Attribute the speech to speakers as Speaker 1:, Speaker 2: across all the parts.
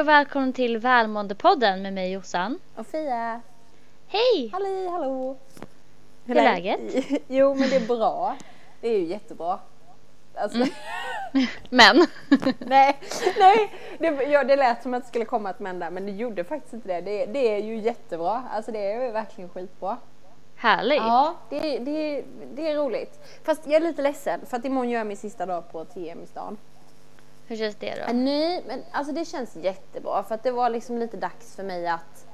Speaker 1: och välkommen till Välmåendepodden med mig Jossan.
Speaker 2: Och Fia!
Speaker 1: Hej!
Speaker 2: Halli hallå!
Speaker 1: Hur är läget?
Speaker 2: Jo men det är bra. Det är ju jättebra. Alltså,
Speaker 1: Mm. Men,
Speaker 2: nej, nej. Det, ja, det lät som att det skulle komma ett men där men det gjorde faktiskt inte det. Det, det är ju jättebra. Alltså det är ju verkligen skitbra.
Speaker 1: härligt.
Speaker 2: Ja, det, det, det är roligt. Fast jag är lite ledsen för att imorgon gör jag min sista dag på TM i stan.
Speaker 1: Hur känns det
Speaker 2: Ja,
Speaker 1: då?
Speaker 2: Äh, Nej, men alltså det känns jättebra för att det var liksom lite dags för mig att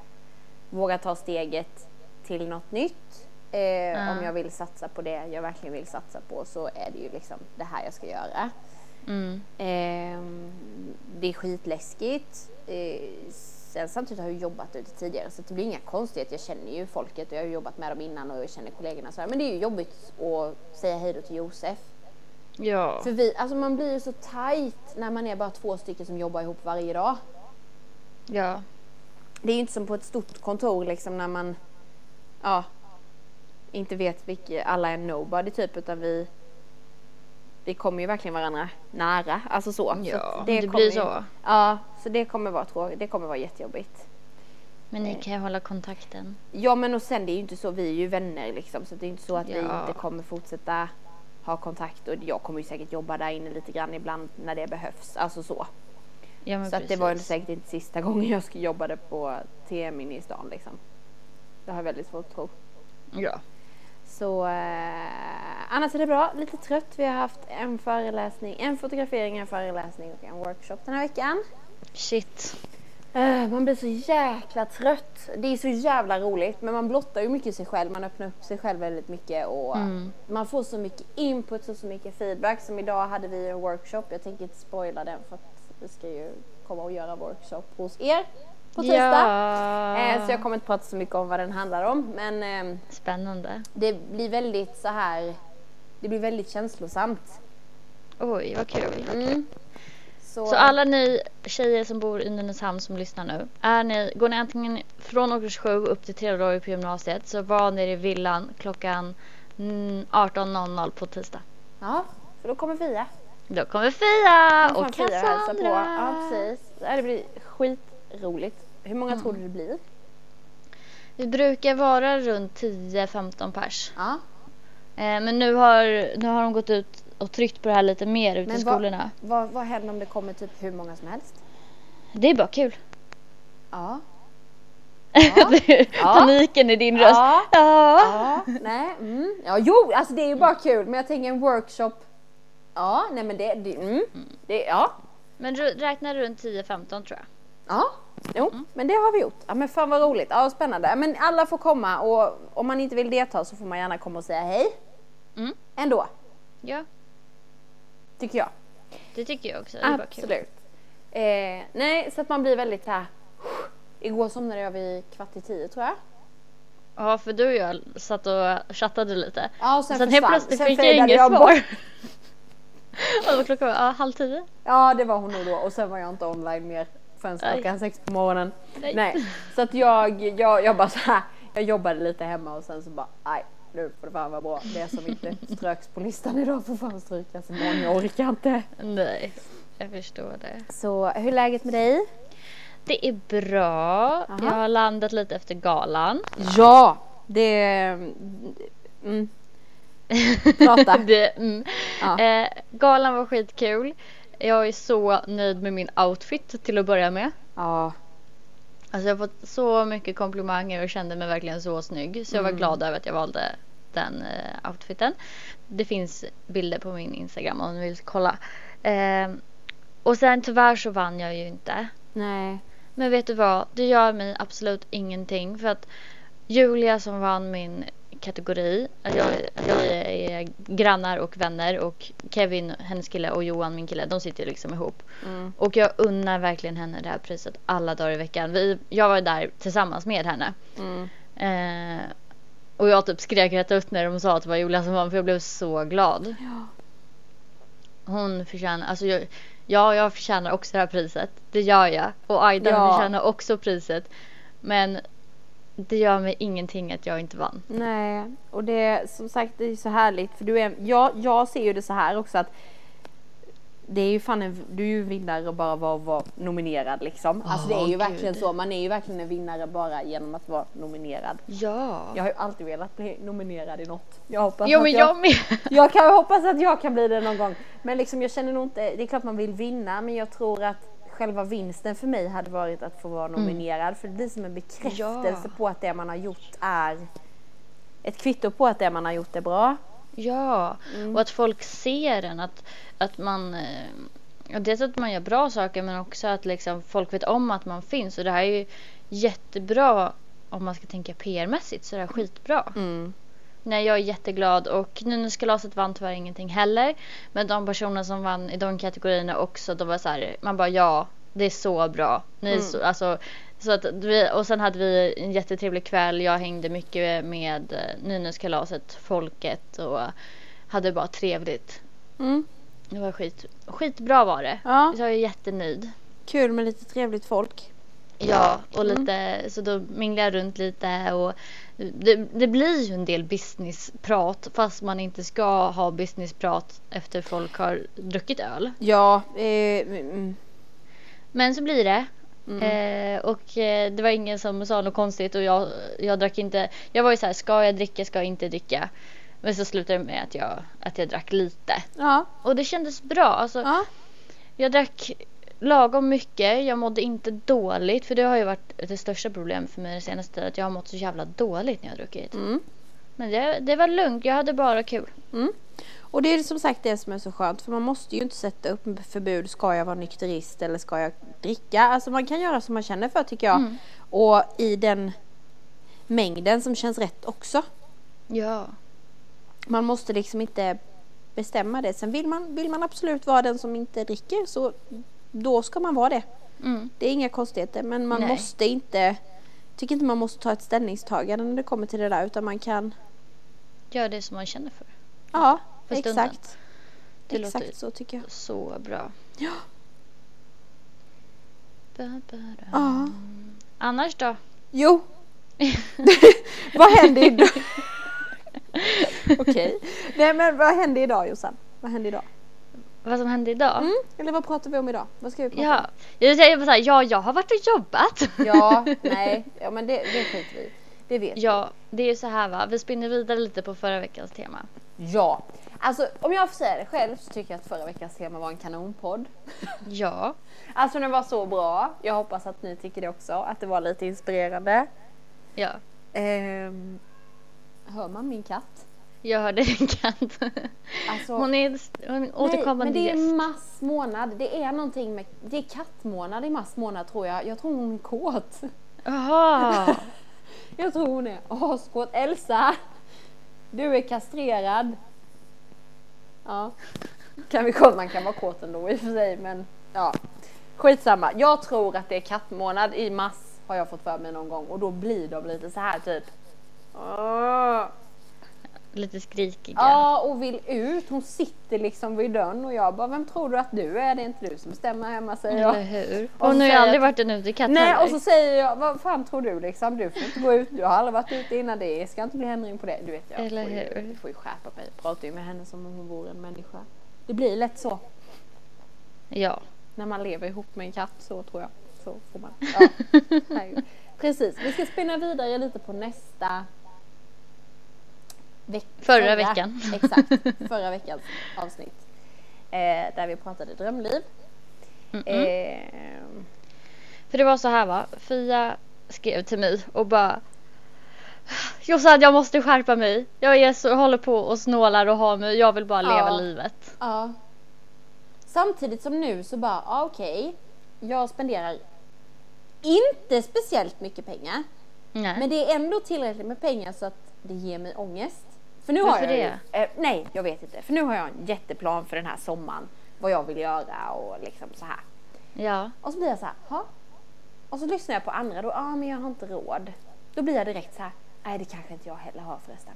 Speaker 2: våga ta steget till något nytt. Eh, Om jag vill satsa på det jag verkligen vill satsa på så är det ju liksom det här jag ska göra.
Speaker 1: Mm.
Speaker 2: Ehm, det är skitläskigt. Eh, sen samtidigt har jag ju jobbat ute tidigare så det blir inga konstigheter. Jag känner ju folket och jag har ju jobbat med dem innan och jag känner kollegorna. och Så här. Men det är ju jobbigt att säga hej då till Josef.
Speaker 1: Ja.
Speaker 2: För vi, alltså man blir ju så tight när man är bara två stycken som jobbar ihop varje dag.
Speaker 1: ja.
Speaker 2: Det är ju inte som på ett stort kontor liksom när man ja, inte vet vilka alla är nobody typ utan vi vi kommer ju verkligen varandra nära, alltså så. Så
Speaker 1: Ja,
Speaker 2: att
Speaker 1: det
Speaker 2: kommer
Speaker 1: blir
Speaker 2: ju-
Speaker 1: så.
Speaker 2: Ja, så det kommer vara tråkigt, det kommer vara jättejobbigt.
Speaker 1: Men ni kan ju hålla kontakten.
Speaker 2: Ja men och sen det är ju inte så, vi är ju vänner liksom så det är inte så att vi
Speaker 1: Ja.
Speaker 2: inte kommer fortsätta ha kontakt och jag kommer ju säkert jobba där inne lite grann ibland när det behövs, alltså så.
Speaker 1: Ja, men
Speaker 2: Så att det var ju
Speaker 1: precis.
Speaker 2: säkert inte sista gången jag skulle jobbade på TM inne i stan liksom. Det har jag väldigt svårt att tro.
Speaker 1: Ja.
Speaker 2: Så eh, annars är det bra, lite trött. Vi har haft en föreläsning, en fotografering, en föreläsning och en workshop den här veckan.
Speaker 1: Shit.
Speaker 2: Eh, man blir så jäkla trött. Det är så jävla roligt men man blottar ju mycket sig själv, man öppnar upp sig själv väldigt mycket och man får så mycket input och så mycket feedback. Som idag hade vi en workshop, jag tänker inte spoila den för att vi ska ju komma och göra workshop hos er på tisdag. Eh,
Speaker 1: Ja.
Speaker 2: Så jag kommer inte prata så mycket om vad den handlar om men ehm,
Speaker 1: Spännande.
Speaker 2: det blir väldigt så här det blir väldigt känslosamt.
Speaker 1: Oj, vad kul.
Speaker 2: Mm. Så,
Speaker 1: Så alla ni tjejer som bor i Nynäshamn som lyssnar nu. Är ni, går ni antingen från årskurs 7 upp till tredje dagen på gymnasiet så var nere i villan klockan mm, 18.00 på tisdag.
Speaker 2: Ja, för då kommer Fia.
Speaker 1: Då kommer Fia
Speaker 2: Fan,
Speaker 1: och
Speaker 2: Fia hälsar på.
Speaker 1: Cassandra.
Speaker 2: Ja, precis. Ja, Det blir skitroligt. Hur många
Speaker 1: Mm.
Speaker 2: tror du det blir?
Speaker 1: Vi brukar vara runt 10-15 pers.
Speaker 2: Ja.
Speaker 1: Eh, men nu har, nu har de gått ut och tryckt på det här lite mer ute i
Speaker 2: Men vad-
Speaker 1: skolorna.
Speaker 2: Vad, vad händer om det kommer typ hur många som helst?
Speaker 1: Det är bara kul.
Speaker 2: Ja.
Speaker 1: Paniken i din röst.
Speaker 2: Ja.
Speaker 1: Ja.
Speaker 2: Ja, nej, mm. ja, jo, alltså det är ju bara kul, men jag tänker en workshop. Ja, nej men det, det, mm. det ja,
Speaker 1: Men ru- räkna runt 10-15 tror jag.
Speaker 2: Ja, jo,
Speaker 1: Mm.
Speaker 2: men det har vi gjort. Ja, men fan vad roligt. Ja, vad spännande. Men alla får komma och om man inte vill delta så får man gärna komma och säga hej.
Speaker 1: Mm.
Speaker 2: Ändå,
Speaker 1: Ja,
Speaker 2: tycker jag.
Speaker 1: det tycker jag också. Det är bara kul.
Speaker 2: Absolut. Eh, nej, så att man blir väldigt så här. Igår somnade jag vid kvart i tio tror jag.
Speaker 1: Ja, för du och jag satt och chattade lite.
Speaker 2: Ja, och sen
Speaker 1: så att helt
Speaker 2: försvann.
Speaker 1: plötsligt
Speaker 2: Sen
Speaker 1: fick jag
Speaker 2: fejdade
Speaker 1: inget
Speaker 2: jag
Speaker 1: svar.
Speaker 2: bort.
Speaker 1: och då klockan var ja, halv tio.
Speaker 2: Ja, det var hon nog då och sen var jag inte online mer förrän klockan sex på morgonen.
Speaker 1: Nej.
Speaker 2: Nej. Så att jag, jag, jag bara så här, jag jobbade lite hemma och sen så bara nej, nu får det fan vara bra. Det som inte ströks på listan idag får fan strykas imorgon, jag orkar inte.
Speaker 1: Nej, jag förstår det.
Speaker 2: Så hur är läget med dig?
Speaker 1: Det är bra. Jag har landat lite efter galan.
Speaker 2: Ja, det... Mm. Prata.
Speaker 1: det, mm.
Speaker 2: Ja.
Speaker 1: eh, galan var skitkul. Jag är så nöjd med min outfit till att börja med.
Speaker 2: Ja,
Speaker 1: Alltså jag har fått så mycket komplimanger och kände mig verkligen så snygg. Så jag
Speaker 2: Mm.
Speaker 1: var glad över att jag valde den eh, outfiten. Det finns bilder på min Instagram om ni vill kolla. Eh, och sen tyvärr så vann jag ju inte.
Speaker 2: nej.
Speaker 1: Men vet du vad? Det gör mig absolut ingenting. För att Julia som vann min kategori, att jag, att jag är grannar och vänner och Kevin, hennes kille och Johan, min kille, de sitter ju liksom ihop. Och jag unnar verkligen henne det här priset alla dagar i veckan. Vi, jag var där tillsammans med henne.
Speaker 2: Mm.
Speaker 1: Eh, och jag typ skrek rätt ut när de sa att det var Julia som vann för jag blev så glad. Hon förtjänar, alltså jag, ja jag förtjänar också det här priset. Det gör jag. Och Aidan
Speaker 2: Ja.
Speaker 1: förtjänar också priset. Men det gör mig ingenting att jag inte vann.
Speaker 2: Nej, och det är som sagt det är så härligt för du är, jag, jag ser ju det så här också att det är ju fan en, du är ju vinnare bara av att vara nominerad liksom. alltså det är ju
Speaker 1: Åh,
Speaker 2: verkligen
Speaker 1: gud.
Speaker 2: så, man är ju verkligen en vinnare bara genom att vara nominerad.
Speaker 1: Ja.
Speaker 2: Jag har ju alltid velat bli nominerad i något. Jag hoppas
Speaker 1: Jo
Speaker 2: att
Speaker 1: men jag med.
Speaker 2: jag kan hoppas att jag kan bli det någon gång. Men liksom jag känner nog inte, det är klart man vill vinna men jag tror att själva vinsten för mig hade varit att få vara nominerad för det blir som en bekräftelse
Speaker 1: Ja.
Speaker 2: på att det man har gjort är ett kvitto på att det man har gjort är bra.
Speaker 1: Ja, och att folk ser en. Att, att man... eh, ja, Dels att man gör bra saker men också att liksom folk vet om att man finns. Och det här är ju jättebra om man ska tänka PR-mässigt så är det här skitbra.
Speaker 2: Mm.
Speaker 1: Nej, jag är jätteglad och nu när kalaset vann tyvärr ingenting heller. Men de personer som vann i de kategorierna också, de var så här, man bara ja, det är så bra. Ni är så, alltså, så att vi, och sen hade vi en jättetrevlig kväll, jag hängde mycket med eh, Nynäskalaset, folket och hade bara trevligt.
Speaker 2: Mm.
Speaker 1: Det var skit, skitbra var det.
Speaker 2: Ja.
Speaker 1: Så jag är jättenöjd.
Speaker 2: Kul med lite trevligt folk.
Speaker 1: Ja, och lite, så då minglade jag runt lite och det, det blir ju en del businessprat fast man inte ska ha businessprat efter folk har druckit öl.
Speaker 2: Ja, eh, mm.
Speaker 1: Men så blir det. Eh, och eh, det var ingen som sa något konstigt och jag, jag drack inte. Jag var ju så här, ska jag dricka, ska jag inte dricka? Men så slutade det med att jag, att jag drack lite.
Speaker 2: ja,
Speaker 1: Och det kändes bra. Alltså,
Speaker 2: ja.
Speaker 1: Jag drack lagom mycket. Jag mådde inte dåligt. För det har ju varit det största problemet för mig den senaste tiden. Att jag har mått så jävla dåligt när jag har druckit.
Speaker 2: Mm.
Speaker 1: Men det, det var lugnt. Jag hade bara kul.
Speaker 2: Och det är som sagt det som är så skönt för man måste ju inte sätta upp förbud. Ska jag vara nykterist eller ska jag dricka? Alltså man kan göra som man känner för tycker jag.
Speaker 1: Mm.
Speaker 2: Och i den mängden som känns rätt också.
Speaker 1: Ja.
Speaker 2: Man måste liksom inte bestämma det. Sen vill man, vill man absolut vara den som inte dricker så då ska man vara det.
Speaker 1: Mm.
Speaker 2: Det är inga konstigheter men man
Speaker 1: Nej.
Speaker 2: måste inte tycker inte man måste ta ett ställningstagande när det kommer till det där utan man kan
Speaker 1: Gör det som man känner för.
Speaker 2: ja
Speaker 1: För stunden.
Speaker 2: exakt.
Speaker 1: Det låter
Speaker 2: Exakt så tycker jag.
Speaker 1: så bra.
Speaker 2: Ja.
Speaker 1: Ba, ba, da.
Speaker 2: Ja.
Speaker 1: Mm. Annars då?
Speaker 2: Jo. vad hände idag? Okej. Nej men vad hände idag Jossan? Vad hände idag?
Speaker 1: Vad som hände idag?
Speaker 2: Mm? Eller vad pratar vi om idag? Vad ska vi prata om?
Speaker 1: Ja. Jag vill säga bara så här, ja, jag har varit och jobbat.
Speaker 2: Ja, nej, ja men det, det skiter vi i. Det vet vi.
Speaker 1: ja, det är ju så här va. Vi spinner vidare lite på förra veckans tema.
Speaker 2: Ja. Alltså om jag får säga det själv så tycker jag att förra veckans tema var en kanonpodd.
Speaker 1: Ja.
Speaker 2: Alltså den var så bra. Jag hoppas att ni tycker det också, att det var lite inspirerande.
Speaker 1: Ja.
Speaker 2: Ehm, hör man min katt?
Speaker 1: Jag hörde en katt.
Speaker 2: Alltså,
Speaker 1: Hon är en st- en återkommande
Speaker 2: Nej, men det är
Speaker 1: gäst.
Speaker 2: mars månad. Det är någonting med... Det är kattmånad i mars månad tror jag. Jag tror hon är kåt.
Speaker 1: Jaha!
Speaker 2: Jag tror hon är askåt. Elsa! Du är kastrerad. Ja. Kan vi kolla, man kan vara kåt ändå i och för sig men ja. Skitsamma. Jag tror att det är kattmånad i mars har jag fått för mig någon gång och då blir de lite så här typ. Åh.
Speaker 1: Lite skrikiga.
Speaker 2: Ja, och vill ut. Hon sitter liksom vid dörren och jag bara, vem tror du att du är? Det är inte du som bestämmer hemma, säger jag.
Speaker 1: Eller hur?
Speaker 2: Och så
Speaker 1: Hon har ju
Speaker 2: säger
Speaker 1: aldrig
Speaker 2: jag-
Speaker 1: varit en utekatt
Speaker 2: Nej,
Speaker 1: heller.
Speaker 2: och så säger jag, vad fan tror du liksom? Du får inte gå ut, du har aldrig varit ute innan det. Jag ska inte bli ändring på det. Du vet, jag
Speaker 1: Eller
Speaker 2: får, ju,
Speaker 1: hur?
Speaker 2: jag får ju skärpa mig. Jag pratar ju med henne som om hon vore en människa. Det blir lätt så.
Speaker 1: Ja.
Speaker 2: När man lever ihop med en katt så tror jag. Så får man. Ja. Herregud. Precis, vi ska spinna vidare lite på nästa veck-
Speaker 1: Förra veckan.
Speaker 2: Exakt, förra veckans avsnitt. Eh, där vi pratade drömliv.
Speaker 1: Mm.
Speaker 2: Eh,
Speaker 1: För det var så här va. Fia skrev till mig och bara Jossan jag måste skärpa mig. Jag är så, håller på och snålar och har mig. Jag vill bara
Speaker 2: Ja.
Speaker 1: leva livet.
Speaker 2: Ja. Samtidigt som nu så bara, ah, okej, jag spenderar inte speciellt mycket pengar.
Speaker 1: Nej.
Speaker 2: Men det är ändå tillräckligt med pengar så att det ger mig ångest. För nu
Speaker 1: Varför
Speaker 2: har jag
Speaker 1: det?
Speaker 2: Ju, eh, nej, jag vet inte. För nu har jag en jätteplan för den här sommaren. Vad jag vill göra och liksom så här.
Speaker 1: Ja.
Speaker 2: Och så blir jag så här, ha? Och så lyssnar jag på andra då, ja ah, men jag har inte råd. Då blir jag direkt så här, nej det kanske inte jag heller har förresten.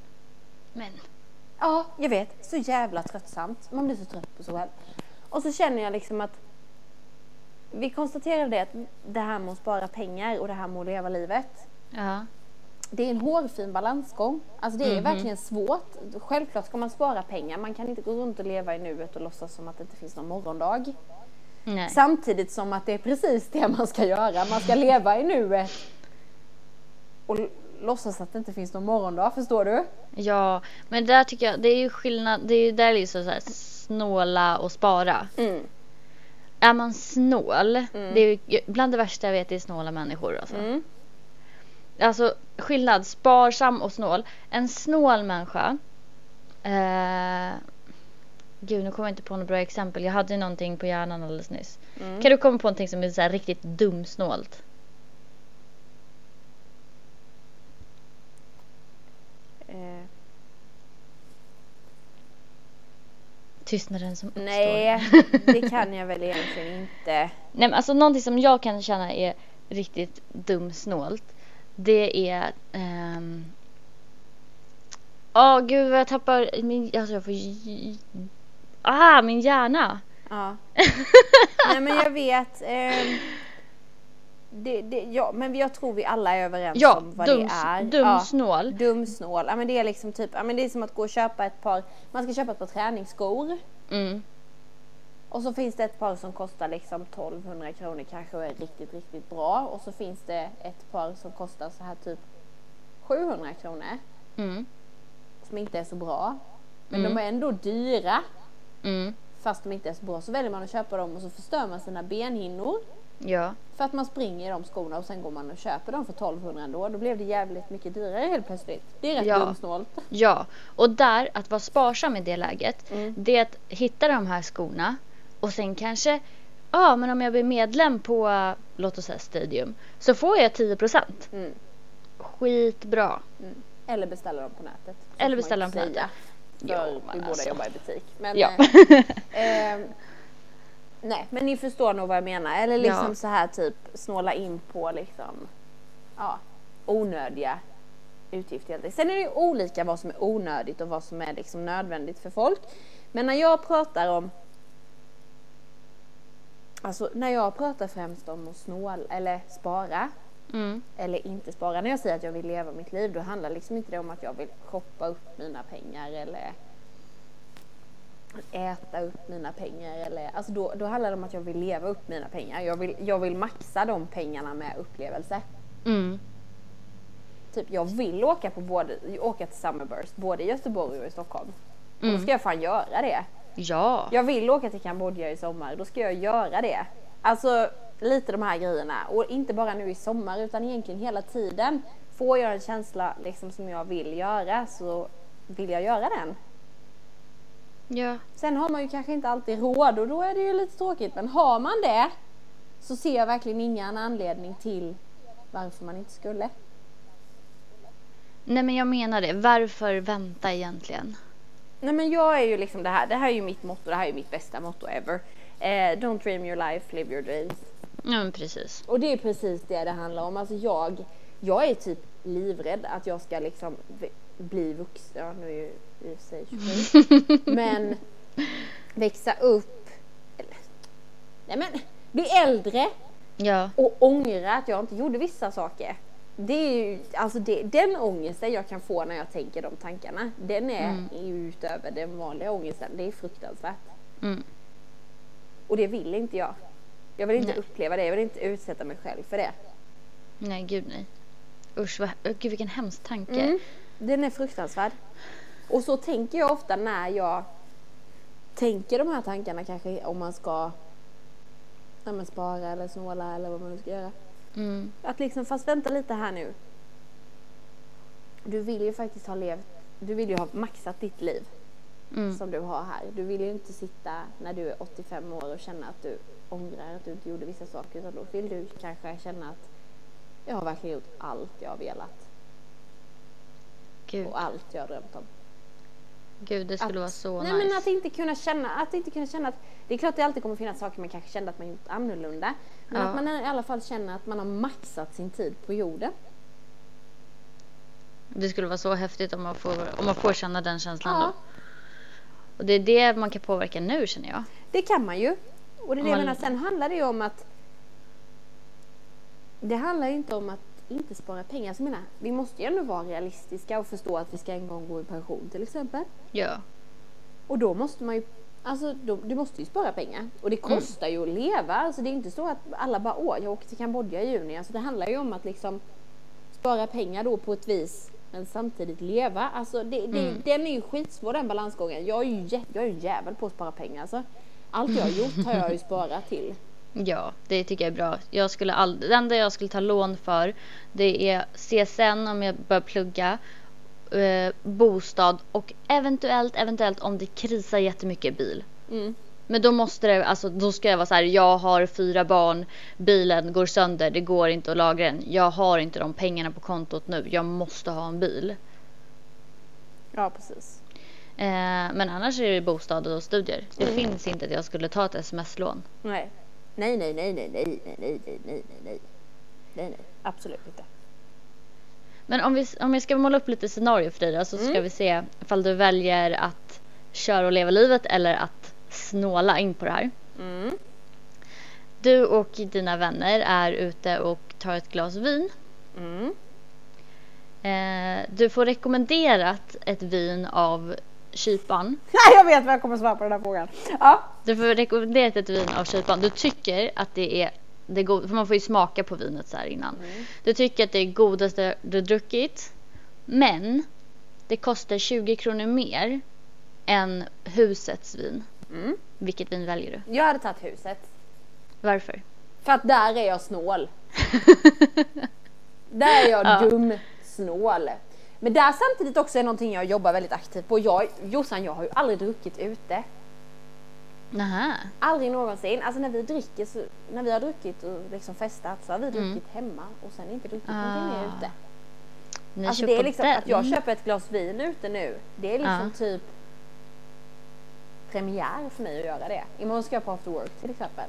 Speaker 1: Men.
Speaker 2: Ja, jag vet. Så jävla tröttsamt. Man blir så trött på sig själv. Och så känner jag liksom att vi konstaterade det att det här med att spara pengar och det här med att leva livet.
Speaker 1: Ja.
Speaker 2: det är en hårfin balansgång. Alltså det är verkligen svårt. Självklart ska man spara pengar. Man kan inte gå runt och leva i nuet och låtsas som att det inte finns någon morgondag.
Speaker 1: Nej.
Speaker 2: Samtidigt som att det är precis det man ska göra. Man ska leva i nuet och l- låtsas att det inte finns någon morgondag. Förstår du?
Speaker 1: Ja, men där tycker jag det är ju skillnad. Det är ju där liksom så här snåla och spara.
Speaker 2: Mm.
Speaker 1: Är man snål, det är ju bland det värsta jag vet är snåla människor. Alltså.
Speaker 2: Mm.
Speaker 1: alltså skillnad, sparsam och snål. En snål människa. Eh, gud, nu kommer jag inte på något bra exempel. Jag hade ju någonting på hjärnan alldeles nyss.
Speaker 2: Mm.
Speaker 1: Kan du komma på någonting som är så här riktigt dumsnålt?
Speaker 2: Eh,
Speaker 1: Tystnaden som uppstår.
Speaker 2: nej, det kan jag väl egentligen inte.
Speaker 1: Nej men alltså någonting som jag kan känna är riktigt dumsnålt. Det är... ehm, Åh gud vad jag tappar min... Alltså jag får... j- Ah, min hjärna!
Speaker 2: Ja. Nej men jag vet. ehm, det, det, ja, men jag tror vi alla är överens
Speaker 1: Ja,
Speaker 2: om vad
Speaker 1: dums,
Speaker 2: det är. ja.
Speaker 1: dumsnål.
Speaker 2: Dum snål. Ja, men det är liksom typ, ja, men det är som att gå och köpa ett par, man ska köpa ett par träningsskor
Speaker 1: Mm.
Speaker 2: och så finns det ett par som kostar liksom 1200 kronor kanske och är riktigt, riktigt bra och så finns det ett par som kostar så här typ 700 kronor
Speaker 1: Mm.
Speaker 2: som inte är så bra. Men
Speaker 1: Mm.
Speaker 2: de är ändå dyra
Speaker 1: Mm.
Speaker 2: fast de inte är så bra så väljer man att köpa dem och så förstör man sina benhinnor
Speaker 1: Ja.
Speaker 2: för att man springer i de skorna och sen går man och köper dem för 1200 ändå. Då blev det jävligt mycket dyrare helt plötsligt. Det är rätt
Speaker 1: Ja.
Speaker 2: dumsnålt.
Speaker 1: Ja, och där att vara sparsam i det läget,
Speaker 2: Mm.
Speaker 1: det är att hitta de här skorna och sen kanske, ja men om jag blir medlem på, eh, låt oss säga Stadium, så får jag 10%.
Speaker 2: Mm.
Speaker 1: Skitbra.
Speaker 2: Eller beställa dem på nätet. Så
Speaker 1: Eller
Speaker 2: får man
Speaker 1: beställa
Speaker 2: inte
Speaker 1: dem på
Speaker 2: säga,
Speaker 1: Ja,
Speaker 2: För
Speaker 1: men
Speaker 2: vi båda
Speaker 1: alltså.
Speaker 2: jobbar i butik. Men,
Speaker 1: Ja.
Speaker 2: eh, eh, nej, men ni förstår nog vad jag menar. Eller liksom
Speaker 1: Ja.
Speaker 2: så här typ snåla in på liksom ja, onödiga utgifter. helt enkelt. Sen är det ju olika vad som är onödigt och vad som är liksom nödvändigt för folk. Men när jag pratar om Alltså när jag pratar främst om att snåla eller spara
Speaker 1: Mm.
Speaker 2: eller inte spara. När jag säger att jag vill leva mitt liv då handlar liksom inte det om att jag vill shoppa upp mina pengar eller äta upp mina pengar eller alltså då, då handlar det om att jag vill leva upp mina pengar. Jag vill, jag vill maxa de pengarna med upplevelse.
Speaker 1: Mm.
Speaker 2: Typ jag vill åka på både, åka till Summerburst både i Göteborg och i Stockholm. Och då
Speaker 1: Mm.
Speaker 2: ska jag fan göra det.
Speaker 1: Ja.
Speaker 2: Jag vill åka till Kambodja i sommar, då ska jag göra det. Alltså lite de här grejerna och inte bara nu i sommar utan egentligen hela tiden. Får jag en känsla liksom som jag vill göra så vill jag göra den.
Speaker 1: Ja.
Speaker 2: Sen har man ju kanske inte alltid råd och då är det ju lite tråkigt men har man det så ser jag verkligen ingen anledning till varför man inte skulle.
Speaker 1: Nej men jag menar det. Varför vänta egentligen?
Speaker 2: Nej men jag är ju liksom det här, det här är ju mitt motto, det här är ju mitt bästa motto ever. Eh, don't dream your life, live your dreams.
Speaker 1: Ja men precis.
Speaker 2: Och det är precis det det handlar om. Alltså jag, jag är typ livrädd att jag ska liksom v- bli vuxen. Ja, nu är jag ju i och för sig 27. Men växa upp. Eller, nej men, bli äldre
Speaker 1: Ja.
Speaker 2: och ångra att jag inte gjorde vissa saker. Det är ju, alltså det, den ångesten jag kan få när jag tänker de tankarna, den är är ju utöver den vanliga ångesten. Det är fruktansvärt.
Speaker 1: Mm.
Speaker 2: Och det vill inte jag. Jag vill inte
Speaker 1: Nej.
Speaker 2: uppleva det, jag vill inte utsätta mig själv för det.
Speaker 1: Nej gud nej. Usch vad, ö, gud vilken hemsk tanke.
Speaker 2: Mm. Den är fruktansvärd. Och så tänker jag ofta när jag tänker de här tankarna kanske om man ska ja, men spara eller snåla eller vad man nu ska göra.
Speaker 1: Mm.
Speaker 2: Att liksom, fast vänta lite här nu. Du vill ju faktiskt ha levt, du vill ju ha maxat ditt liv
Speaker 1: Mm.
Speaker 2: som du har här. Du vill ju inte sitta när du är 85 år och känna att du ångrar att du inte gjorde vissa saker utan då vill du kanske känna att jag har verkligen gjort allt jag har velat
Speaker 1: Gud,
Speaker 2: och allt jag har drömt om.
Speaker 1: gud det skulle
Speaker 2: att-
Speaker 1: vara så
Speaker 2: Nej
Speaker 1: nice.
Speaker 2: men att inte kunna känna, att inte kunna känna att det är klart det alltid kommer finnas saker man kanske kände att man gjort annorlunda. Men
Speaker 1: Ja.
Speaker 2: att man i alla fall känner att man har maxat sin tid på jorden.
Speaker 1: Det skulle vara så häftigt om man får, om man får känna den känslan
Speaker 2: Ja.
Speaker 1: då. Och det är det man kan påverka nu känner jag.
Speaker 2: Det kan man ju. Och det är det jag
Speaker 1: Man-
Speaker 2: menar, sen handlar det ju om att det handlar ju inte om att inte spara pengar. Alltså, jag menar, vi måste ju ändå vara realistiska och förstå att vi ska en gång gå i pension till exempel.
Speaker 1: Ja.
Speaker 2: Och då måste man ju, alltså då, du måste ju spara pengar. Och det kostar ju att leva. Alltså det är inte så att alla bara, åh jag åker till Kambodja i juni. Alltså det handlar ju om att liksom spara pengar då på ett vis men samtidigt leva. Alltså det, det, den är ju skitsvår den balansgången. Jag är ju jä- jag är ju jävel på att spara pengar alltså. Allt jag har gjort har jag ju sparat till.
Speaker 1: Ja, det tycker jag är bra. Jag skulle all... Det enda jag skulle ta lån för det är CSN om jag börjar plugga, eh, bostad och eventuellt, eventuellt om det krisar jättemycket bil.
Speaker 2: Mm.
Speaker 1: Men då måste det, alltså då ska jag vara så här, jag har fyra barn, bilen går sönder, det går inte att lagra den. Jag har inte de pengarna på kontot nu, jag måste ha en bil.
Speaker 2: Ja precis.
Speaker 1: Eh, men annars är det bostad och studier. Det
Speaker 2: Mm.
Speaker 1: finns inte att jag skulle ta ett sms-lån.
Speaker 2: Nej. Nej nej nej nej nej nej nej nej nej nej. Nej nej. Absolut inte.
Speaker 1: Men om, vi, om jag ska måla upp lite scenario för dig då, så ska
Speaker 2: Mm.
Speaker 1: vi se ifall du väljer att köra och leva livet eller att snåla in på det här.
Speaker 2: Mm.
Speaker 1: Du och dina vänner är ute och tar ett glas vin.
Speaker 2: Mm.
Speaker 1: Eh, du får rekommenderat ett vin av kyparen.
Speaker 2: Nej jag vet vad jag kommer svara på den här frågan. Ja.
Speaker 1: Du får rekommenderat ett vin av kyparen. Du tycker att det är det go- för man får ju smaka på vinet så här innan.
Speaker 2: Mm.
Speaker 1: Du tycker att det är godaste du druckit. Men det kostar 20 kronor mer än husets vin.
Speaker 2: Mm.
Speaker 1: Vilket vin väljer du?
Speaker 2: Jag hade tagit huset.
Speaker 1: Varför?
Speaker 2: För att där är jag snål. Där är jag
Speaker 1: Ja.
Speaker 2: dum, snål. Men där samtidigt också är någonting jag jobbar väldigt aktivt på. Jag, Jossan, jag har ju aldrig druckit ute.
Speaker 1: Nähä.
Speaker 2: Aldrig någonsin. Alltså när vi dricker, så, när vi har druckit och liksom festat så har vi druckit hemma och sen inte druckit någonting mer
Speaker 1: Mm. Ah.
Speaker 2: ute.
Speaker 1: Ni
Speaker 2: Alltså
Speaker 1: kör
Speaker 2: det är
Speaker 1: på
Speaker 2: liksom
Speaker 1: den. Ah.
Speaker 2: att jag köper ett glas vin ute nu. Det är liksom
Speaker 1: Ja.
Speaker 2: typ premiär för mig att göra det. Imorgon ska jag på after work till exempel.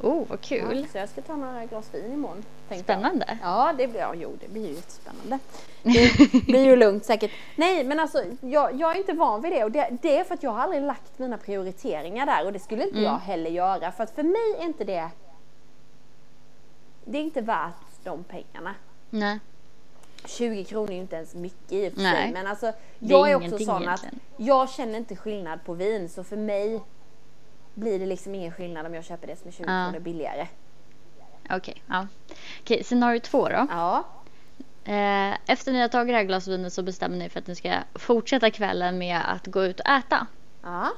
Speaker 1: Oh, vad
Speaker 2: Ja,
Speaker 1: kul.
Speaker 2: Så jag ska ta några glas vin imorgon. tänkte jag.
Speaker 1: Spännande.
Speaker 2: Ja, det blir, ja, jo, det blir ju jättespännande. Det blir ju lugnt säkert. Nej, men alltså jag, jag är inte van vid det och det, det är för att jag har aldrig lagt mina prioriteringar där och det skulle
Speaker 1: Mm.
Speaker 2: inte jag heller göra för att för mig är inte det det är inte värt de pengarna.
Speaker 1: Nej.
Speaker 2: 20 kronor är ju inte ens mycket i och för
Speaker 1: Nej.
Speaker 2: sig men alltså
Speaker 1: Det är
Speaker 2: jag är, också
Speaker 1: ingenting
Speaker 2: sån
Speaker 1: egentligen.
Speaker 2: att jag känner inte skillnad på vin så för mig blir det liksom ingen skillnad om jag köper det som är 20
Speaker 1: Ja.
Speaker 2: kronor billigare.
Speaker 1: Okej, ja. Okej, scenario två då.
Speaker 2: Ja,
Speaker 1: Eh, efter ni har tagit det här glasvinet så bestämmer ni för att ni ska fortsätta kvällen med att gå ut och äta.
Speaker 2: ja,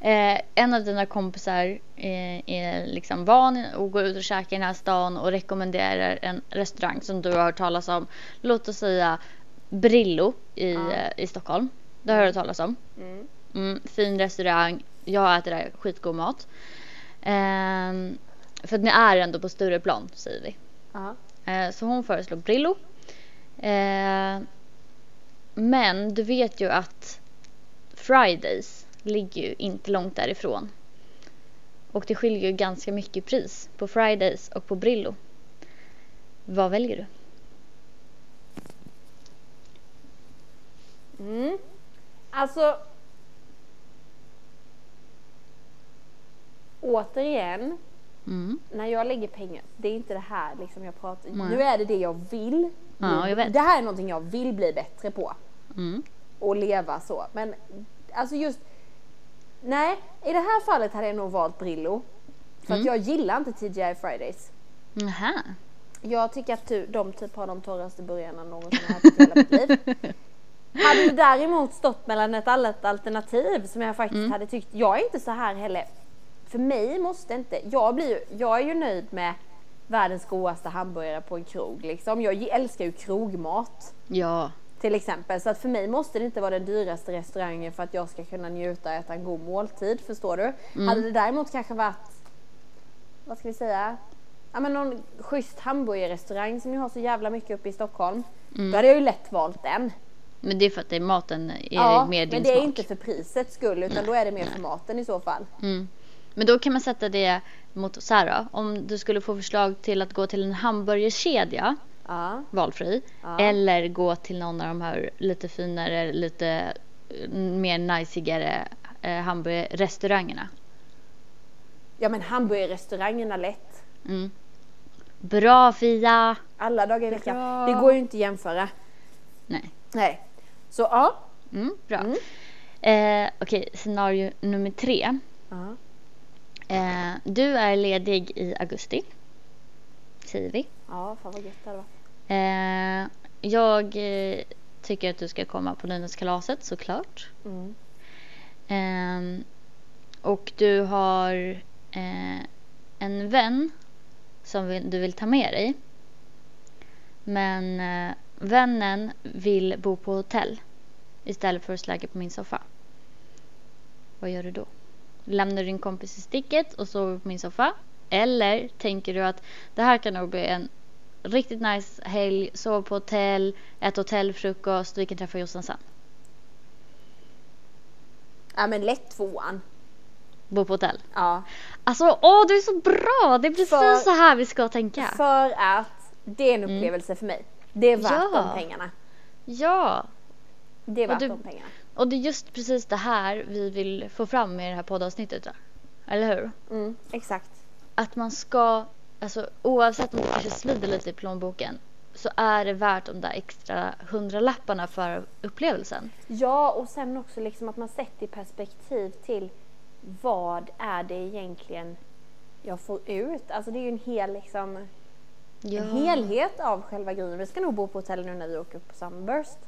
Speaker 1: Eh, en av dina kompisar eh, är liksom van att gå ut och käka i den här stan och rekommenderar en restaurang som du har hört talas om. Låt oss säga Brillo i,
Speaker 2: Ja.
Speaker 1: eh, i Stockholm. Det har jag hört talas om.
Speaker 2: Mm.
Speaker 1: Mm, fin restaurang. Jag äter där skitgod mat. Ehm, för att ni är ändå på Stureplan säger vi.
Speaker 2: ja.
Speaker 1: Eh, Så hon föreslog Brillo. Eh, Men du vet ju att Fridays ligger ju inte långt därifrån. Och det skiljer ju ganska mycket i pris på Fridays och på Brillo. Vad väljer du?
Speaker 2: Mm. Alltså... Återigen,
Speaker 1: Mm.
Speaker 2: när jag lägger pengar, det är inte det här liksom jag pratar
Speaker 1: Nej.
Speaker 2: Nu är det det jag vill.
Speaker 1: Ja, jag vet.
Speaker 2: Det här är någonting jag vill bli bättre på
Speaker 1: Mm.
Speaker 2: och leva så. Men alltså just... Nej, i det här fallet hade jag nog valt Brillo. För
Speaker 1: Mm.
Speaker 2: att jag gillar inte TGI Fridays.
Speaker 1: Nähä.
Speaker 2: Jag tycker att tu- de typ har de torraste burgarna någonsin jag ätit i hela mitt liv. Hade det däremot stått mellan ett annat alternativ som jag faktiskt hade tyckt, jag är inte så här heller. För mig måste inte, jag, blir, ju- jag är ju nöjd med världens godaste hamburgare på en krog liksom. Jag älskar ju krogmat
Speaker 1: Ja.
Speaker 2: till exempel. Så att för mig måste det inte vara den dyraste restaurangen för att jag ska kunna njuta och äta en god måltid, förstår du? Hade det däremot kanske varit, vad ska vi säga, ja men någon schysst hamburgerrestaurang som jag har så jävla mycket uppe i Stockholm. Då hade jag ju lätt valt den.
Speaker 1: Men det är för att det är maten är
Speaker 2: ja,
Speaker 1: mer din
Speaker 2: men det är
Speaker 1: smak.
Speaker 2: inte för prisets skull utan då är det mer för maten i så fall.
Speaker 1: Mm. Men då kan man sätta det mot så här då, om du skulle få förslag till att gå till en hamburgerkedja
Speaker 2: Ja,
Speaker 1: valfri.
Speaker 2: Ja.
Speaker 1: Eller gå till någon av de här lite finare, lite eh, mer najsigare eh, hamburgerrestaurangerna.
Speaker 2: ja men hamburgerrestaurangerna lätt.
Speaker 1: Mm. Bra Fia!
Speaker 2: alla dagar i veckan.
Speaker 1: Bra.
Speaker 2: Det går ju inte att jämföra.
Speaker 1: Nej.
Speaker 2: Nej. Så ja.
Speaker 1: Mm, bra.
Speaker 2: Mm.
Speaker 1: Eh, Okej, scenario nummer tre.
Speaker 2: Ja.
Speaker 1: Eh, du är ledig i augusti, säger vi.
Speaker 2: Ja, fan vad gött det hade varit.
Speaker 1: Eh, jag eh, tycker att du ska komma på nyårskalaset såklart.
Speaker 2: Mm.
Speaker 1: Ehm, och du har eh, en vän som vill, du vill ta med dig. Men eh, vännen vill bo på hotell istället för att slagga på min soffa. Vad gör du då? Lämnar du din kompis i sticket och sover på min soffa? Eller tänker du att det här kan nog bli en riktigt nice helg, sova på hotell, äta hotellfrukost, vi kan träffa Jossan sen.
Speaker 2: Ja men lätt tvåan.
Speaker 1: Bo på hotell.
Speaker 2: Ja.
Speaker 1: Alltså, åh du är så bra! Det är precis
Speaker 2: För-
Speaker 1: så här vi ska tänka.
Speaker 2: För att det är en upplevelse för mig. Det är värt
Speaker 1: Mm. Ja.
Speaker 2: de pengarna.
Speaker 1: Ja,
Speaker 2: Det är
Speaker 1: Och
Speaker 2: värt
Speaker 1: du-
Speaker 2: de pengarna.
Speaker 1: och det är just precis det här vi vill få fram med det här poddavsnittet. va? Eller hur?
Speaker 2: Mm, exakt.
Speaker 1: Att man ska, alltså oavsett om det kanske svider lite i plånboken så är det värt de där extra hundralapparna för upplevelsen.
Speaker 2: Ja, och sen också liksom att man sätter i perspektiv till vad är det egentligen jag får ut? Alltså det är ju en hel liksom,
Speaker 1: Ja.
Speaker 2: en helhet av själva grejen. Vi ska nog bo på hotell nu när vi åker på Sunburst,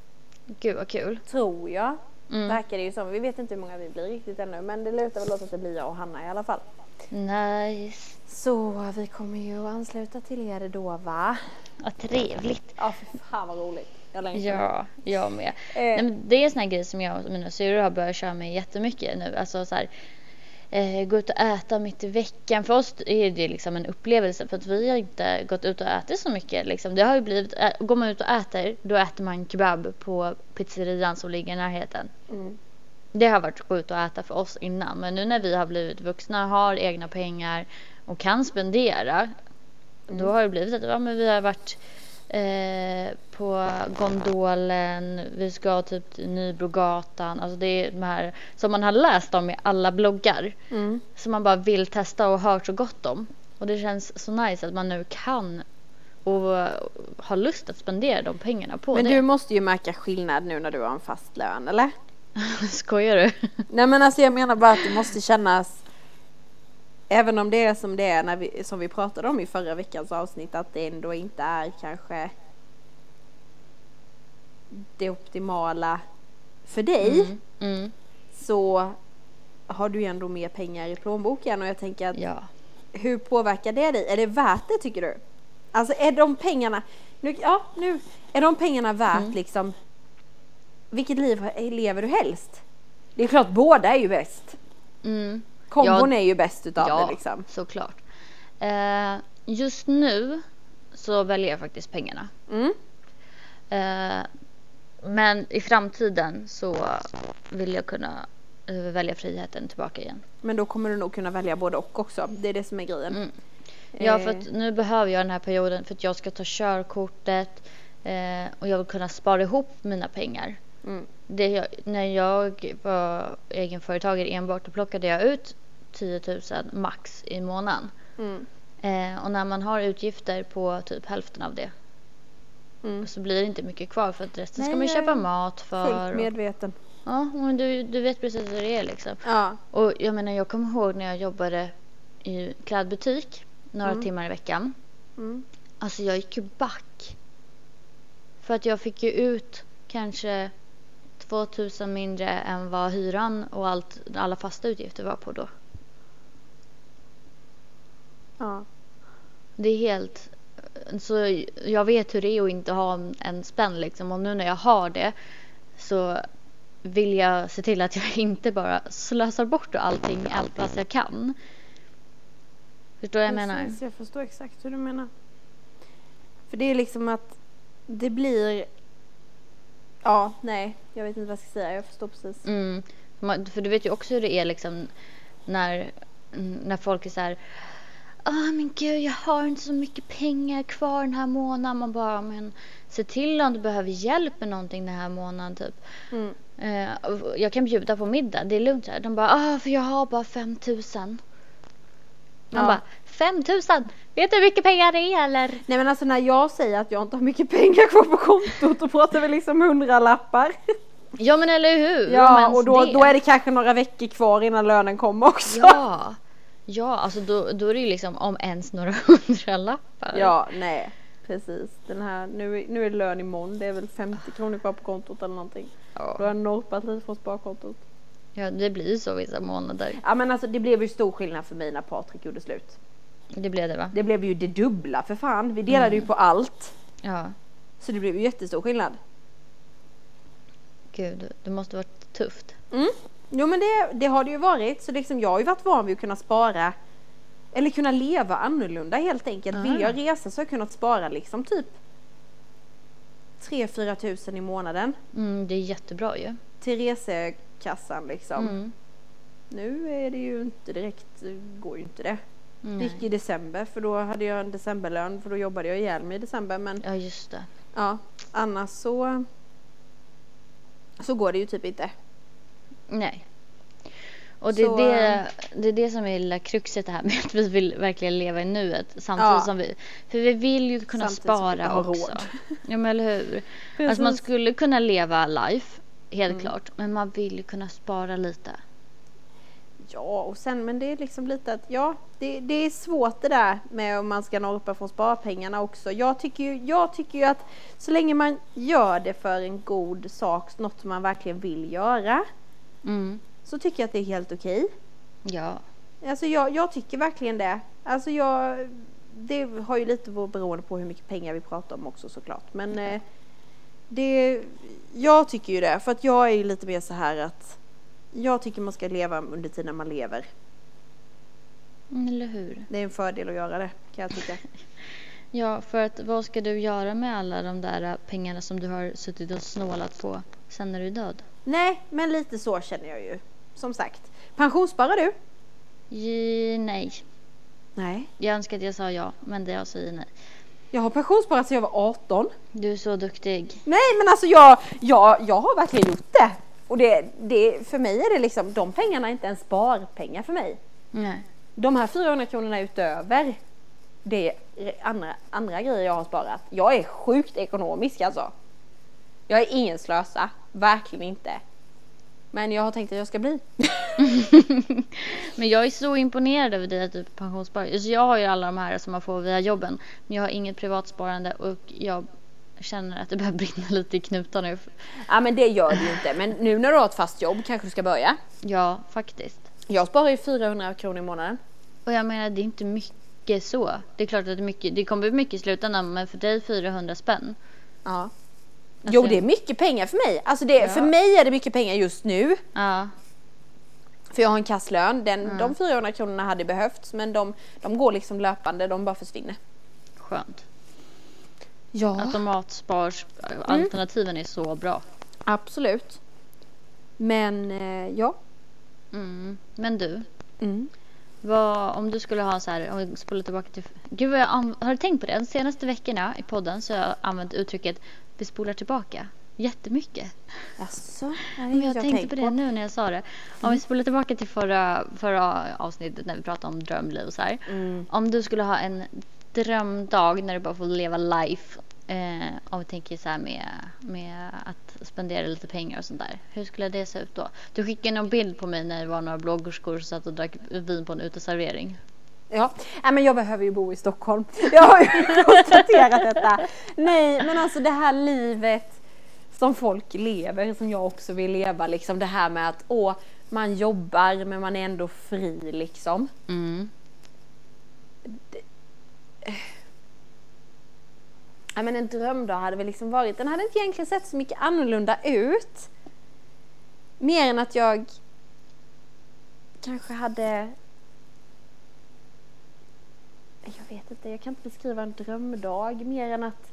Speaker 1: Gud vad kul.
Speaker 2: tror jag.
Speaker 1: Mm.
Speaker 2: Verkar det ju som. Vi vet inte hur många vi blir riktigt ännu, men det lutar väl åt att det blir jag och Hanna i alla fall.
Speaker 1: Nice.
Speaker 2: Så vi kommer ju ansluta till er då, va?
Speaker 1: Vad trevligt.
Speaker 2: Ja, för fan vad roligt. Jag längtar.
Speaker 1: Ja, jag med.
Speaker 2: Eh,
Speaker 1: Nej, men det är en sån här grej som jag och mina syrror har börjat köra med jättemycket nu. Alltså så här, eh, gå ut och äta mitt i veckan. För oss är det ju liksom en upplevelse för att vi har inte gått ut och ätit så mycket. Liksom. Det har ju blivit, ä, går man ut och äter, då äter man kebab på pizzerian som ligger i närheten.
Speaker 2: Mm.
Speaker 1: Det har varit att gå ut och äta för oss innan. Men nu när vi har blivit vuxna, har egna pengar och kan spendera. Då har det blivit att ja, men vi har varit eh, på Gondolen, vi ska typ till Nybrogatan. Alltså det är de här som man har läst om i alla bloggar.
Speaker 2: Mm.
Speaker 1: Som man bara vill testa och hört så gott om. Och det känns så nice att man nu kan och eh, har lust att spendera de pengarna på
Speaker 2: Men
Speaker 1: det.
Speaker 2: du måste ju märka skillnad nu när du har en fast lön, eller?
Speaker 1: Skojar du?
Speaker 2: Nej men alltså jag menar bara att det måste kännas Även om det är som det är när vi, som vi pratade om i förra veckans avsnitt att det ändå inte är kanske det optimala för dig
Speaker 1: Mm. Mm.
Speaker 2: så har du ju ändå mer pengar i plånboken och jag tänker att
Speaker 1: Ja.
Speaker 2: hur påverkar det dig? Är det värt det tycker du? Alltså är de pengarna, nu, ja nu, är de pengarna värt
Speaker 1: Mm.
Speaker 2: liksom vilket liv lever du helst? Det är klart båda är ju bäst.
Speaker 1: Mm.
Speaker 2: Kombon är ju bäst utav
Speaker 1: ja,
Speaker 2: det liksom.
Speaker 1: såklart. Eh, just nu så väljer jag faktiskt pengarna.
Speaker 2: Mm.
Speaker 1: Eh, men i framtiden så vill jag kunna eh, välja friheten tillbaka igen.
Speaker 2: Men då kommer du nog kunna välja både och också. Det är det som är grejen.
Speaker 1: Mm. Ja, för
Speaker 2: Eh,
Speaker 1: att nu behöver jag den här perioden för att jag ska ta körkortet eh, och jag vill kunna spara ihop mina pengar.
Speaker 2: Mm.
Speaker 1: Det jag, när jag var egenföretagare enbart då plockade jag ut 10 000 max i månaden.
Speaker 2: Mm.
Speaker 1: Eh, och när man har utgifter på typ hälften av det
Speaker 2: Mm.
Speaker 1: så blir det inte mycket kvar för att resten ska
Speaker 2: Nej,
Speaker 1: man ju
Speaker 2: jag är
Speaker 1: köpa mat för.
Speaker 2: Fullt
Speaker 1: och-
Speaker 2: medveten.
Speaker 1: Ja, men du, du vet precis hur det är liksom.
Speaker 2: Ja.
Speaker 1: Och jag menar, jag kommer ihåg när jag jobbade i klädbutik några timmar i veckan.
Speaker 2: Mm.
Speaker 1: Alltså jag gick ju back. För att jag fick ju ut kanske 2000 mindre än vad hyran och allt, alla fasta utgifter var på då.
Speaker 2: ja.
Speaker 1: Det är helt... Så jag vet hur det är att inte ha en- en spänn liksom. Och nu när jag har det så vill jag se till att jag inte bara slösar bort allting, allt vad jag kan. Förstår vad jag menar?
Speaker 2: Precis, jag förstår exakt hur du menar. För det är liksom att det blir... Ja, nej. Jag vet inte vad jag ska säga. Jag förstår precis.
Speaker 1: Mm. Man- För du vet ju också hur det är liksom när, mm, när folk är så här Åh men gud jag har inte så mycket pengar kvar den här månaden. Man bara men se till om du behöver hjälp med någonting den här månaden typ.
Speaker 2: Mm.
Speaker 1: Eh, och jag kan bjuda på middag, det är lugnt. så här. De bara, ah, för jag har bara 5000. Man
Speaker 2: Ja.
Speaker 1: bara 5000! Vet du hur mycket pengar det är eller?
Speaker 2: Nej men alltså när jag säger att jag inte har mycket pengar kvar på kontot då pratar vi liksom hundralappar.
Speaker 1: Ja men eller hur? Om
Speaker 2: Ja
Speaker 1: ens
Speaker 2: och då, då är det kanske några veckor kvar innan lönen kommer också.
Speaker 1: Ja! Ja, alltså då, då är det ju liksom om ens några hundralappar.
Speaker 2: Ja, nej. Precis. Den här, nu, är- nu är det lön imorgon. Det är väl 50 kronor kvar på kontot eller någonting. Då har
Speaker 1: Ja.
Speaker 2: jag norpat lite från sparkontot.
Speaker 1: ja, det blir ju så vissa månader.
Speaker 2: Ja men alltså det blev ju stor skillnad för mig när Patrik gjorde slut.
Speaker 1: Det blev det va?
Speaker 2: Det blev ju det dubbla för fan. Vi delade ju på allt.
Speaker 1: Ja.
Speaker 2: Så det blev ju jättestor skillnad.
Speaker 1: Gud, det måste varit tufft.
Speaker 2: Jo men det, det har det ju varit. Så liksom, jag har ju varit van vid att kunna spara. Eller kunna leva annorlunda helt enkelt. Vill jag resa så har jag kunnat spara liksom typ 3-4 tusen i månaden.
Speaker 1: Mm, det är jättebra ju.
Speaker 2: Till resekassan liksom.
Speaker 1: Mm.
Speaker 2: Nu är det ju inte direkt, går ju inte det. Det
Speaker 1: Nej.
Speaker 2: gick i december för då hade jag en decemberlön för då jobbade jag ihjäl mig i december men
Speaker 1: Ja, just det.
Speaker 2: ja annars så så går det ju typ inte.
Speaker 1: Nej. Och det, är
Speaker 2: Så, eh,
Speaker 1: det, det är det som är lilla kruxet det här med att vi vill verkligen leva i nuet samtidigt
Speaker 2: Ja.
Speaker 1: som vi... För vi vill ju kunna
Speaker 2: Samtidigt som vi
Speaker 1: spara
Speaker 2: har
Speaker 1: också.
Speaker 2: råd.
Speaker 1: Ja men eller hur. Alltså man skulle kunna leva life, helt
Speaker 2: Mm.
Speaker 1: klart. Men man vill ju kunna spara lite.
Speaker 2: Ja och sen men det är liksom lite att ja det, det är svårt det där med om man ska norpa från sparpengarna också. Jag tycker ju, jag tycker ju att så länge man gör det för en god sak, något man verkligen vill göra
Speaker 1: Mm.
Speaker 2: så tycker jag att det är helt okej.
Speaker 1: Ja.
Speaker 2: Alltså jag, jag tycker verkligen det. Alltså jag, det har ju lite vår- beroende på hur mycket pengar vi pratar om också såklart. Men eh, det, jag tycker ju det. För att jag är ju lite mer så här att jag tycker man ska leva under tiden man lever.
Speaker 1: Mm, Eller hur.
Speaker 2: Det är en fördel att göra det kan jag tycka.
Speaker 1: Ja, för att vad ska du göra med alla de där äh, pengarna som du har suttit och snålat på sen när du är död?
Speaker 2: Nej, men lite så känner jag ju. Som sagt. Pensionssparar du?
Speaker 1: Ge- nej.
Speaker 2: Nej.
Speaker 1: Jag önskar att jag sa ja, men det jag säger nej.
Speaker 2: Jag har pensionssparat sedan jag var 18.
Speaker 1: Du är så duktig.
Speaker 2: Nej men alltså jag, jag, jag har verkligen gjort det. Och det, det, för mig är det liksom, de pengarna är inte ens sparpengar för mig.
Speaker 1: Nej.
Speaker 2: De här 400 kronorna utöver, det är andra, andra grejer jag har sparat. Jag är sjukt ekonomisk alltså. Jag är ingen slösa, verkligen inte. Men jag har tänkt att jag ska bli.
Speaker 1: Men jag är så imponerad över dig att du pensionssparar. Så jag har ju alla de här som man får via jobben. Men jag har inget privatsparande och jag känner att det börjar brinna lite i knutarna. nu.
Speaker 2: Ja men det gör du ju inte, men nu när du har ett fast jobb kanske du ska börja.
Speaker 1: Ja, faktiskt.
Speaker 2: Jag sparar ju 400 kronor i månaden.
Speaker 1: Och jag menar, det är inte mycket så. Det är klart att det, är mycket, det kommer bli mycket i slutändan, men för dig 400 spänn.
Speaker 2: Ja.
Speaker 1: Alltså-
Speaker 2: Jo det är mycket pengar för mig. Alltså det,
Speaker 1: Ja.
Speaker 2: för mig är det mycket pengar just nu.
Speaker 1: Ja,
Speaker 2: För jag har en kasslön. Den,
Speaker 1: Mm.
Speaker 2: De 400 kronorna hade behövts men de, de går liksom löpande, de bara försvinner.
Speaker 1: skönt.
Speaker 2: Ja,
Speaker 1: Automatspars, alternativen är så bra.
Speaker 2: absolut. Men eh, ja.
Speaker 1: Mm. Men du,
Speaker 2: Mm.
Speaker 1: Vad, om du skulle ha så här, om vi spolar tillbaka till... Gud, vad jag an- har du tänkt på det? De senaste veckorna i podden så har jag använt uttrycket vi spolar tillbaka jättemycket.
Speaker 2: Alltså, nej,
Speaker 1: Men Mm, jag,
Speaker 2: jag
Speaker 1: tänkte
Speaker 2: tänkt
Speaker 1: på Mm. det nu när jag sa det. Om vi spolar tillbaka till förra, förra avsnittet när vi pratade om drömliv och så här.
Speaker 2: Mm.
Speaker 1: Om du skulle ha en drömdag när du bara får leva life. Eh, om vi tänker så här med, med att spendera lite pengar och sånt där. Hur skulle det se ut då? Du skickade någon bild på mig när det var några bloggerskor som satt och drack vin på en uteservering.
Speaker 2: Ja, nej, men jag behöver ju bo i Stockholm. Jag har ju konstaterat detta. Nej, men alltså det här livet som folk lever, som jag också vill leva, liksom det här med att åh, man jobbar men man är ändå fri liksom.
Speaker 1: Mm.
Speaker 2: Ja, men en drömdag hade väl liksom varit, den hade inte egentligen sett så mycket annorlunda ut. Mer än att jag kanske hade... Jag vet inte, jag kan inte beskriva en drömdag mer än att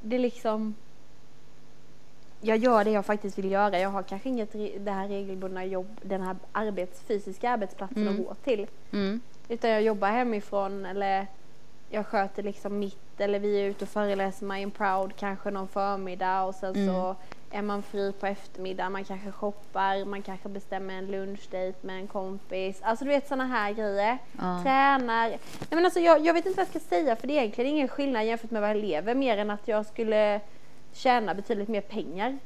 Speaker 2: det liksom... Jag gör det jag faktiskt vill göra. Jag har kanske inget re- det här regelbundna jobb, den här arbets, fysiska arbetsplatsen att gå till.
Speaker 1: Mm.
Speaker 2: Utan jag jobbar hemifrån eller jag sköter liksom mitt eller vi är ute och föreläser my and proud kanske någon förmiddag och sen så Är man fri på eftermiddagen, man kanske shoppar, man kanske bestämmer en lunchdate med en kompis. Alltså du vet sådana här grejer.
Speaker 1: Ja.
Speaker 2: Tränar. Nej, men alltså, jag, jag vet inte vad jag ska säga för det är egentligen ingen skillnad jämfört med vad jag lever mer än att jag skulle tjäna betydligt mer pengar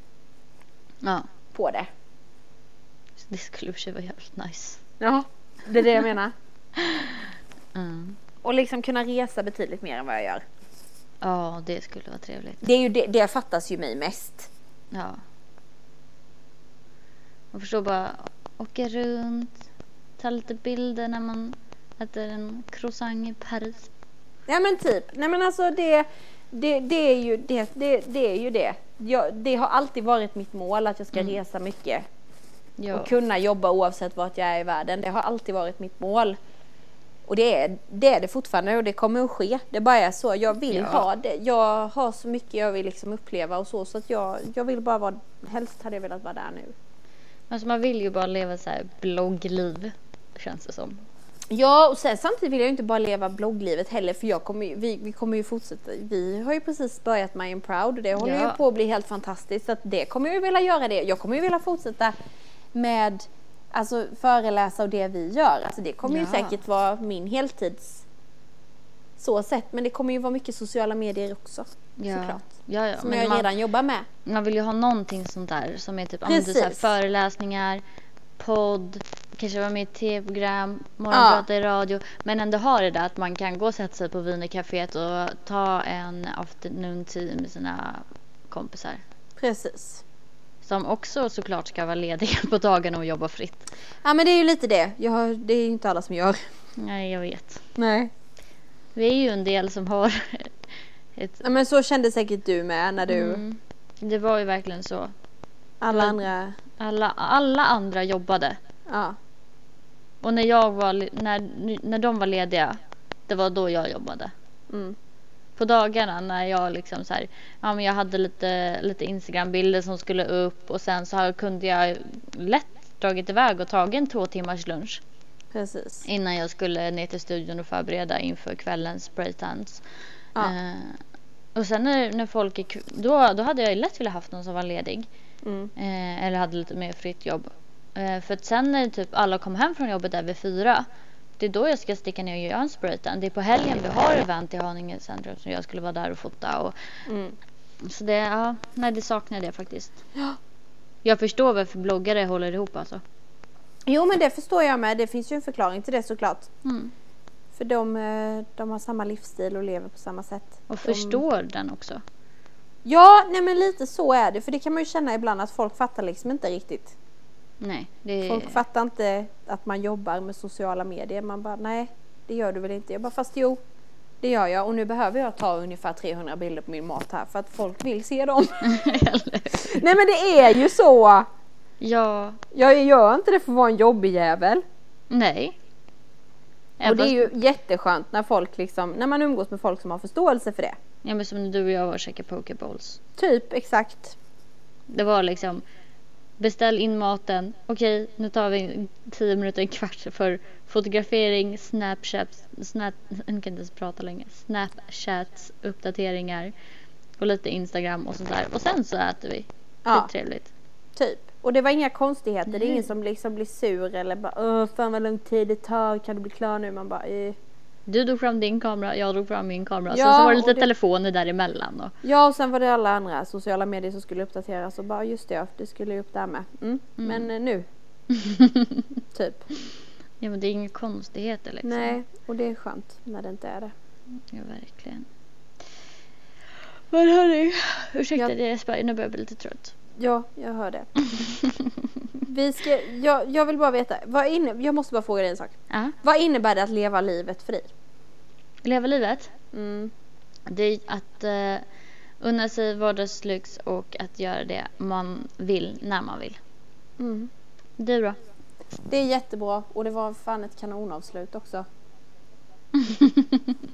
Speaker 1: Ja.
Speaker 2: på det.
Speaker 1: Så Det skulle i och för sig vara jävligt nice.
Speaker 2: Ja, det är det jag menar.
Speaker 1: Mm.
Speaker 2: Och liksom kunna resa betydligt mer än vad jag gör.
Speaker 1: Ja, det skulle vara trevligt.
Speaker 2: Det, är ju det, det fattas ju mig mest.
Speaker 1: Ja. Man förstår bara åka runt, ta lite bilder när man äter en croissant i Paris.
Speaker 2: Ja men typ, nej men alltså det, det, det är ju det. det, det, är ju det. Jag, det har alltid varit mitt mål att jag ska resa mycket
Speaker 1: Mm. Ja.
Speaker 2: och kunna jobba oavsett vart jag är i världen. Det har alltid varit mitt mål. Och det är det, är det fortfarande och det kommer att ske. Det bara är så. Jag vill
Speaker 1: Ja.
Speaker 2: ha det. Jag har så mycket jag vill liksom uppleva och så. Så att jag, jag vill bara vara, helst hade jag velat vara där nu.
Speaker 1: Alltså man vill ju bara leva så här bloggliv, känns det som.
Speaker 2: Ja, och sen samtidigt vill jag ju inte bara leva blogglivet heller för jag kommer ju, vi, vi kommer ju fortsätta. Vi har ju precis börjat My and Proud och det håller
Speaker 1: Ja.
Speaker 2: ju på att bli helt fantastiskt. Så att det kommer jag ju vilja göra det. Jag kommer ju vilja fortsätta med alltså föreläsa och det vi gör. Alltså det kommer ju
Speaker 1: Ja.
Speaker 2: säkert vara min heltids så sätt. Men det kommer ju vara mycket sociala medier också.
Speaker 1: Ja.
Speaker 2: Såklart.
Speaker 1: Ja, ja.
Speaker 2: Som
Speaker 1: Men
Speaker 2: jag
Speaker 1: man,
Speaker 2: redan jobbar med.
Speaker 1: man vill ju ha någonting sånt där som är typ ja, men du, så här,
Speaker 2: Precis.
Speaker 1: föreläsningar, podd, kanske vara med i tv-program, morgonprat i radio. Men ändå ha det där att man kan gå och sätta sig på Wienercaféet och ta en afternoon tea med sina kompisar.
Speaker 2: Precis.
Speaker 1: Som också såklart ska vara lediga på dagarna och jobba fritt.
Speaker 2: Ja men det är ju lite det. Jag, har- det är ju inte alla som gör.
Speaker 1: Nej, jag vet.
Speaker 2: Nej.
Speaker 1: Vi är ju en del som har ett...
Speaker 2: Ja, men så kände säkert du med när du
Speaker 1: Mm. Det var ju verkligen så.
Speaker 2: alla
Speaker 1: Men-
Speaker 2: andra
Speaker 1: Alla, alla andra jobbade.
Speaker 2: Ja,
Speaker 1: Och när jag var, le- när, när de var lediga, det var då jag jobbade.
Speaker 2: mm.
Speaker 1: På dagarna när jag liksom så här, ja men jag hade lite, lite Instagram-bilder som skulle upp och sen så här kunde jag lätt dragit iväg och tagit en två timmars lunch
Speaker 2: precis.
Speaker 1: innan jag skulle ner till studion och förbereda inför kvällens spraytans.
Speaker 2: Ja.
Speaker 1: Eh, och sen när, när folk är, kv- då, då hade jag ju lätt velat haft någon som var ledig.
Speaker 2: Mm.
Speaker 1: Eh, eller hade lite mer fritt jobb. Eh, för att sen när typ alla kom hem från jobbet där vid fyra. Det är då jag ska sticka ner och göra en spraytan. Det är på helgen vi har event i Haninge centrum som jag skulle vara där och fota. Och,
Speaker 2: Mm.
Speaker 1: så det, ja, nej det saknade jag faktiskt. Jag förstår varför bloggare håller ihop alltså.
Speaker 2: Jo men det förstår jag med. Det finns ju en förklaring till det såklart.
Speaker 1: Mm.
Speaker 2: För de, eh, de har samma livsstil och lever på samma sätt.
Speaker 1: Och förstår den också.
Speaker 2: Ja, nej men lite så är det. För det kan man ju känna ibland att folk fattar liksom inte riktigt.
Speaker 1: Nej, det
Speaker 2: Folk fattar inte att man jobbar med sociala medier. Man bara nej, det gör du väl inte? Jag bara fast jo, det gör jag. Och nu behöver jag ta ungefär 300 bilder på min mat här för att folk vill se dem. nej men det är ju så!
Speaker 1: Ja,
Speaker 2: Jag gör inte det för att vara en jobbig jävel.
Speaker 1: nej.
Speaker 2: Och
Speaker 1: Även
Speaker 2: det är
Speaker 1: fast-
Speaker 2: ju jätteskönt när folk liksom, när man umgås med folk som har förståelse för det.
Speaker 1: ja, men som när du och jag var och käkade pokeballs.
Speaker 2: Typ exakt.
Speaker 1: Det var liksom beställ in maten. Okej, nu tar vi 10 minuter, en kvart för fotografering, snapchat, snap, jag kan inte ens prata längre, snapchats, uppdateringar och lite instagram och sånt där. Och sen så äter vi.
Speaker 2: Ja,
Speaker 1: Skittrevligt.
Speaker 2: typ. Och det var inga konstigheter. Det är
Speaker 1: Nej.
Speaker 2: ingen som liksom blir sur eller bara Åh, fan vad lång tid det tar. Kan du bli klar nu? Man bara eh.
Speaker 1: Du drog fram din kamera, jag drog fram min kamera.
Speaker 2: Ja,
Speaker 1: sen så var det
Speaker 2: och
Speaker 1: lite
Speaker 2: det-
Speaker 1: telefoner däremellan. Och,
Speaker 2: Ja, och sen var det alla andra sociala medier som skulle uppdateras och bara just det, ja, det skulle ju upp där med. Mm. Men eh, nu. typ.
Speaker 1: ja, men det är inga konstigheter liksom.
Speaker 2: Nej, och det är skönt när det inte är det.
Speaker 1: Ja, verkligen. Men hörni, ursäkta
Speaker 2: Jag-
Speaker 1: det Jesper, nu börjar jag bli lite trött.
Speaker 2: Ja, jag hör det. Vi ska, jag, jag vill bara veta, vad inne, jag måste bara fråga dig en sak.
Speaker 1: Ja,
Speaker 2: Vad innebär det att leva livet fri?
Speaker 1: leva livet.
Speaker 2: Mm.
Speaker 1: Det är att eh, unna sig vardagslyx och att göra det man vill när man vill.
Speaker 2: Mm.
Speaker 1: Du då?
Speaker 2: Det är jättebra och det var fan ett kanonavslut också.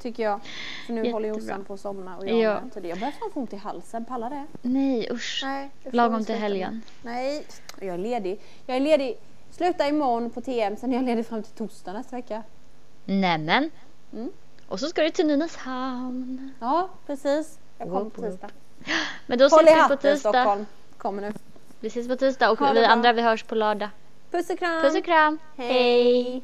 Speaker 2: Tycker jag. För nu håller ju
Speaker 1: Jättebra.
Speaker 2: Jossan på att somna och jag
Speaker 1: Ja.
Speaker 2: ja. med. Så det- Jag börjar fan få ont i halsen, pallar det?
Speaker 1: Nej usch.
Speaker 2: Nej. jag får
Speaker 1: Lagom
Speaker 2: sluta
Speaker 1: till
Speaker 2: med-
Speaker 1: helgen.
Speaker 2: Nej, och jag är ledig. Jag är ledig, sluta imorgon på TM, sen är jag ledig fram till torsdag nästa vecka.
Speaker 1: Nämen.
Speaker 2: Mm.
Speaker 1: Och så ska du till Nynäshamn.
Speaker 2: Ja, precis. Jag kommer på
Speaker 1: Woop woop.
Speaker 2: tisdag.
Speaker 1: Men då
Speaker 2: Håll i
Speaker 1: ses vi på
Speaker 2: hatten
Speaker 1: tisdag.
Speaker 2: Stockholm. kommer nu.
Speaker 1: Vi ses på tisdag och
Speaker 2: Ha det
Speaker 1: vi
Speaker 2: bra.
Speaker 1: andra vi hörs på lördag.
Speaker 2: Puss och kram!
Speaker 1: Puss och kram!
Speaker 2: Hej.